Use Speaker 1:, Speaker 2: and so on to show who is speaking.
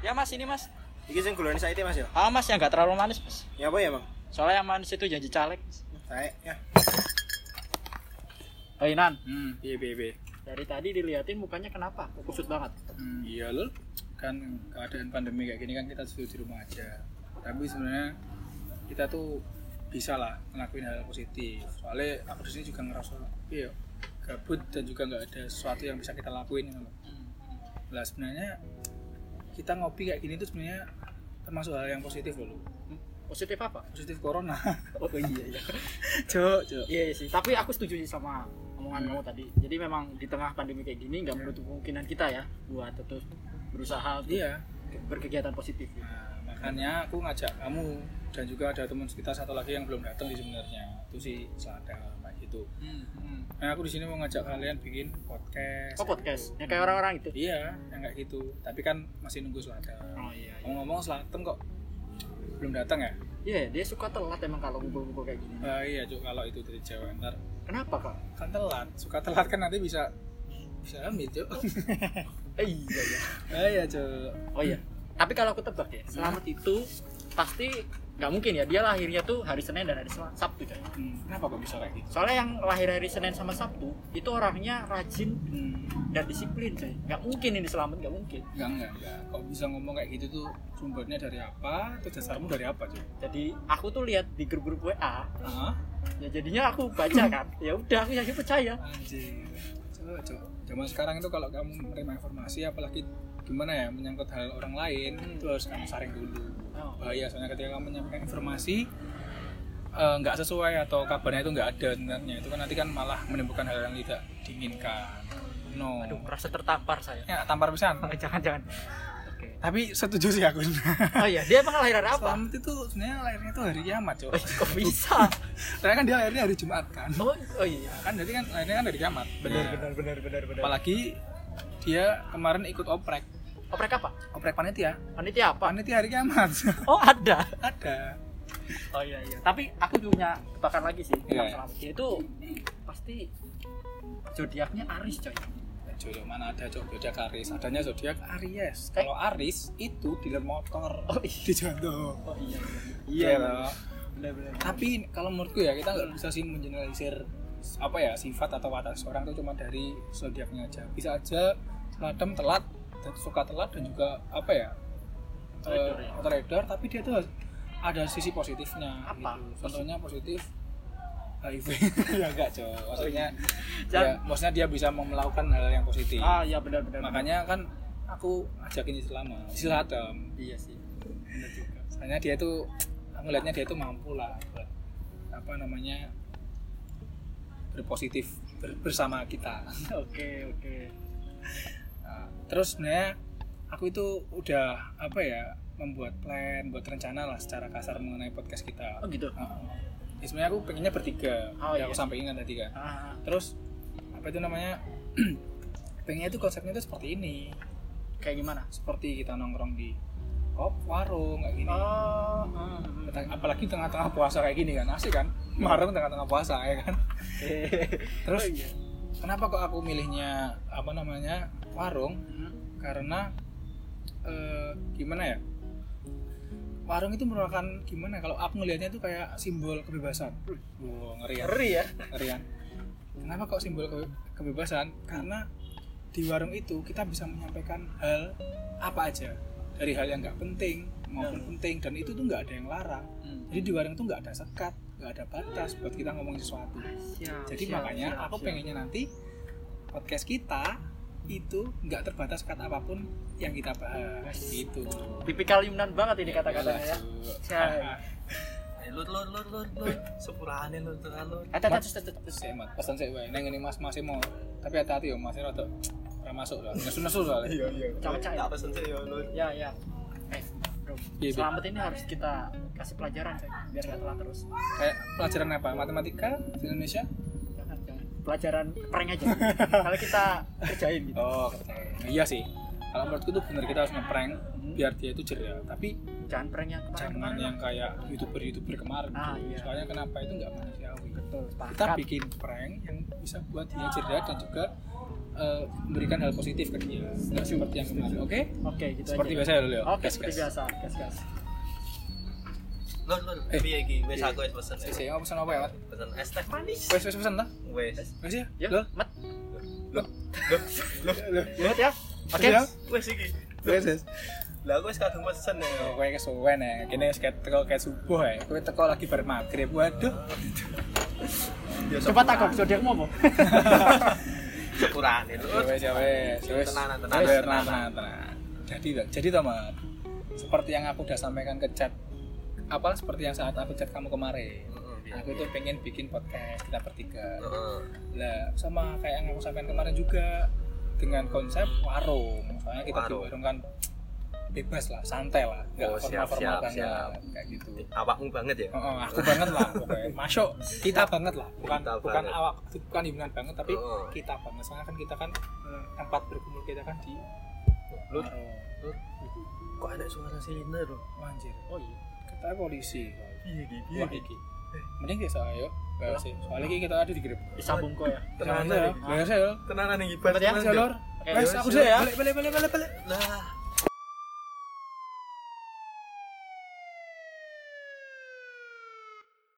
Speaker 1: Ya mas ini mas.
Speaker 2: Iki sing gulane saiki Mas ya.
Speaker 1: Ah mas yang nggak terlalu manis mas.
Speaker 2: Ya apa ya, Bang?
Speaker 1: Soalnya yang manis itu janji caleg. Mas.
Speaker 2: Sae ya.
Speaker 1: Hei Nan,
Speaker 3: Hmm,
Speaker 2: Piye piye piye.
Speaker 1: Eh, dari tadi diliatin mukanya kenapa? Kok Kusut banget.
Speaker 3: hmm, iya lul. Kan keadaan pandemi kayak gini kan kita sudah di rumah aja. Tapi sebenarnya kita tuh bisa lah ngelakuin hal positif. Soalnya aku di sini juga ngerasa iya gabut dan juga nggak ada sesuatu yang bisa kita lakuin. gitu loh. Lah sebenarnya kita ngopi kayak gini tuh sebenarnya termasuk hal yang positif loh. Lul.
Speaker 1: Positif apa?
Speaker 3: Positif corona.
Speaker 1: Oh iya iya.
Speaker 3: Cok, cok.
Speaker 1: Iya sih. Tapi aku setuju sih sama omongan kamu tadi. Jadi memang di tengah pandemi kayak gini nggak menutup kemungkinan kita ya buat terus berusaha untuk
Speaker 3: Iya.
Speaker 1: berkegiatan positif. gitu.
Speaker 3: Nah, makanya aku ngajak kamu dan juga ada teman kita satu lagi yang belum datang sih sebenarnya itu si Selada kayak gitu
Speaker 1: Hmm,
Speaker 3: nah aku di sini mau ngajak kalian bikin podcast
Speaker 1: Oh podcast. Yang kayak orang-orang itu.
Speaker 3: iya yang kayak gitu tapi kan masih nunggu Selada
Speaker 1: Oh iya. iya.
Speaker 3: ngomong-ngomong Selatan kok belum datang ya
Speaker 1: Iya dia suka telat emang kalau kumpul-kumpul kayak gini.
Speaker 3: Eh, iya cuk kalau itu dari cewek ntar
Speaker 1: Kenapa kak?
Speaker 3: kan telat suka telat kan nanti bisa bisa ambil cuk
Speaker 1: Eh, iya iya.
Speaker 3: Eh, iya cuk
Speaker 1: Oh iya. Tapi kalau aku tebak ya, Selamat itu pasti nggak mungkin ya. Dia lahirnya tuh hari Senin dan hari Sel- Sabtu kan.
Speaker 3: Hmm, kenapa kok bisa kayak gitu
Speaker 1: Soalnya yang lahir hari Senin sama Sabtu itu orangnya rajin
Speaker 3: hmm.
Speaker 1: dan disiplin coy. Nggak mungkin ini Selamat nggak mungkin.
Speaker 3: Enggak, enggak, enggak. Kok bisa ngomong kayak gitu tuh sumbernya dari apa? Itu dasarmu dari apa, cuy?
Speaker 1: Jadi aku tuh lihat di grup-grup WA,
Speaker 3: Hah?
Speaker 1: ya jadinya aku baca kan. Ya udah aku yakin percaya.
Speaker 3: Anjir. Coba, coba. Zaman sekarang itu kalau kamu menerima informasi apalagi gimana ya menyangkut hal orang lain
Speaker 1: Hmm.
Speaker 3: itu harus kamu saring dulu.
Speaker 1: Oh.
Speaker 3: Bahaya soalnya ketika kamu menyampaikan informasi eh, nggak sesuai atau kabarnya itu nggak ada sebenarnya itu kan nanti kan malah menimbulkan hal yang tidak diinginkan. No.
Speaker 1: Aduh, merasa tertampar saya.
Speaker 3: Ya tampar pisan.
Speaker 1: Jangan-jangan. Oke.
Speaker 3: Tapi setuju sih aku. Selamat
Speaker 1: Oh iya, dia emang lahir hari apa?
Speaker 3: itu sebenarnya lahirnya itu hari kiamat, Cok.
Speaker 1: Eh, kok bisa?
Speaker 3: Soalnya kan dia lahirnya hari Jumat kan.
Speaker 1: Oh, oh iya.
Speaker 3: Kan berarti kan lahirnya kan dari kiamat. Nah,
Speaker 1: benar, benar, benar.
Speaker 3: Apalagi dia kemarin ikut oprek.
Speaker 1: Oprek apa?
Speaker 3: Oprek panitia.
Speaker 1: Panitia apa?
Speaker 3: Panitia hari kiamat.
Speaker 1: Oh ada.
Speaker 3: Ada.
Speaker 1: Oh iya iya. Tapi aku punya tebakan lagi sih.
Speaker 3: Iya.
Speaker 1: tentang Selamat. Dia itu pasti zodiaknya Aris coy.
Speaker 3: Jodoh mana ada cok zodiak Aris. Adanya zodiak Aries. Kalau Aris itu dealer motor.
Speaker 1: Oh, iya.
Speaker 3: di jantung.
Speaker 1: Oh iya.
Speaker 3: Iya. loh.
Speaker 1: Benar-benar.
Speaker 3: Tapi kalau menurutku ya kita nggak bisa sih mengeneralisir apa ya sifat atau watak seorang itu cuma dari zodiaknya aja. Bisa aja ladem telat dan suka telat dan juga apa ya
Speaker 1: Teledor ya?
Speaker 3: eh, teledor, tapi dia tuh ada sisi positifnya
Speaker 1: Apa?
Speaker 3: gitu. contohnya positif HIV ya enggak coy maksudnya
Speaker 1: Oh,
Speaker 3: ya,
Speaker 1: Jangan-
Speaker 3: maksudnya dia bisa mau melakukan hal yang positif
Speaker 1: iya. Ah iya benar-benar.
Speaker 3: makanya kan aku ajakin selama silatem
Speaker 1: Iya sih. Benar juga.
Speaker 3: soalnya dia tuh aku lihatnya dia tuh mampu lah buat apa namanya berpositif ber- bersama kita
Speaker 1: Oke oke.
Speaker 3: Nah, terus sebenarnya aku itu udah apa ya membuat plan buat rencana lah secara kasar mengenai podcast kita
Speaker 1: Oh gitu.
Speaker 3: Nah, ya sebenarnya aku pengennya bertiga
Speaker 1: Oh, iya.
Speaker 3: ya aku sampaikan kan tadi kan
Speaker 1: Ah,
Speaker 3: terus apa itu namanya pengennya itu konsepnya itu seperti ini
Speaker 1: kayak gimana?
Speaker 3: seperti kita nongkrong di kop warung kayak gini
Speaker 1: Oh.
Speaker 3: Teng- apalagi tengah-tengah puasa kayak gini kan asik kan marung tengah-tengah puasa ya kan terus kenapa kok aku milihnya apa namanya warung karena eh, gimana ya warung itu merupakan gimana ya? kalau aku ngelihatnya itu kayak simbol kebebasan wow ngeri ya
Speaker 1: Ngeri ya.
Speaker 3: ngeri ya. kenapa kok simbol ke- kebebasan karena di warung itu kita bisa menyampaikan hal apa aja dari hal yang nggak penting maupun
Speaker 1: Hmm.
Speaker 3: penting dan itu tuh nggak ada yang larang jadi di warung tuh nggak ada sekat nggak ada batas buat kita ngomongin sesuatu
Speaker 1: Siap,
Speaker 3: jadi
Speaker 1: siap,
Speaker 3: makanya
Speaker 1: siap,
Speaker 3: aku
Speaker 1: siap.
Speaker 3: pengennya nanti podcast kita itu nggak terbatas kata apapun yang kita bahas gitu Iya,
Speaker 1: tipikal Yunan banget ini kata-katanya ya. Siap.
Speaker 4: Ayo, Eh, lur, lur, lur, lur, lur. Sepurane, lur, tengah, lur.
Speaker 1: Ata ata ata ata.
Speaker 3: Saya mat, pesan saya wae. Neng ini mas masih mau, tapi hati-hati yo masih rada ora masuk lah. Nesu-nesu soalnya. Iya iya.
Speaker 1: Cocok
Speaker 4: Tak
Speaker 1: ya.
Speaker 4: pesen sih, yo, lur.
Speaker 1: Ya ya. Eh, bro,
Speaker 3: Iya, Bi.
Speaker 1: selamat ini harus kita kasih pelajaran coy, biar nggak telat terus.
Speaker 3: Kayak pelajaran apa? Matematika di Indonesia?
Speaker 1: Jangan, jangan. Pelajaran prank aja. Kalau kita kerjain gitu.
Speaker 3: Oh, nah, iya sih. Kalau menurutku tuh bener kita harus ngeprank
Speaker 1: Hmm.
Speaker 3: biar dia itu jera. Tapi
Speaker 1: Jangan prank yang
Speaker 3: jangan
Speaker 1: kemarin-kemarin.
Speaker 3: yang kayak youtuber-youtuber kemarin.
Speaker 1: Ah, iya.
Speaker 3: Soalnya kenapa itu nggak manusiawi.
Speaker 1: Betul,
Speaker 3: Kita
Speaker 1: sepakat.
Speaker 3: bikin prank yang bisa buat dia jera dan juga eh, berikan hal positif ke dia nggak seperti yang kemarin oke
Speaker 1: Oke, gitu
Speaker 3: seperti
Speaker 1: aja.
Speaker 3: biasa ya Lulio
Speaker 1: Oke, seperti biasa. Gas gas.
Speaker 4: Lur lur.
Speaker 3: Eh.
Speaker 4: Piye iki? Wis aku wis pesen.
Speaker 3: saya saya pesan apa ya mat
Speaker 4: Pesen es teh manis.
Speaker 3: wes wes pesan lah
Speaker 4: Wes.
Speaker 3: wes ya
Speaker 1: Ya,
Speaker 3: Lul?
Speaker 1: mat.
Speaker 4: Loh, loh.
Speaker 1: Lihat ya. Oke.
Speaker 3: ya
Speaker 4: Wes iki.
Speaker 3: wes wes
Speaker 4: Lah aku wis kadung pesen ya.
Speaker 3: kowe kesuwen ya kene wis kayak teko kayak subuh ya kowe teko lagi bar maghrib waduh
Speaker 4: Ya
Speaker 1: Coba takut zodiakmu apa?
Speaker 4: sepurane
Speaker 3: Ya
Speaker 4: lur.
Speaker 3: wes ya wes ya wes
Speaker 4: Tenang, tenang,
Speaker 3: Ya wes,
Speaker 4: tenang.
Speaker 3: tenang, tenang. jadi Mat. jadi toh Mat, seperti yang aku udah sampaikan ke chat apa seperti yang saat aku chat kamu kemarin
Speaker 4: Heeh, piye.
Speaker 3: aku tuh pengen bikin podcast kita bertiga
Speaker 4: Heeh.
Speaker 3: lah sama kayak yang aku sampaikan kemarin juga dengan konsep warung soalnya kita di
Speaker 4: Warung.
Speaker 3: warung kan bebas lah santai lah
Speaker 4: Oh,
Speaker 3: nggak formal
Speaker 4: siap,
Speaker 3: formal
Speaker 4: siap,
Speaker 3: banget
Speaker 4: siap.
Speaker 3: kayak gitu
Speaker 4: Awakmu banget ya.
Speaker 3: Oh, oh, aku banget lah pokoknya masuk kita banget lah bukan
Speaker 4: Kita
Speaker 3: bukan
Speaker 4: banget.
Speaker 3: awak bukan himpunan banget tapi
Speaker 4: Oh.
Speaker 3: kita banget soalnya kan kita kan eh, tempat berkumpul kita kan di
Speaker 4: Lu-
Speaker 3: warung.
Speaker 4: Kok ada suara sirine lur?
Speaker 3: Wah, anjir Iya,
Speaker 1: Oh iya.
Speaker 3: kita polisi
Speaker 4: Piye iki? Piye
Speaker 3: wah
Speaker 4: iki?
Speaker 3: iki mending ya saya yuk Gak sih. soalnya iki kita ada di grip
Speaker 1: Disambung kok ya.
Speaker 4: Tenanan
Speaker 3: ya
Speaker 4: iki.
Speaker 3: Gak sih, yuk.
Speaker 4: Tenanan iki.
Speaker 1: Bentar ya.
Speaker 3: Jalur.
Speaker 1: Oke,
Speaker 3: Wes,
Speaker 1: yuk.
Speaker 3: aku sudah ya balik balik balik balik balik
Speaker 4: Lah,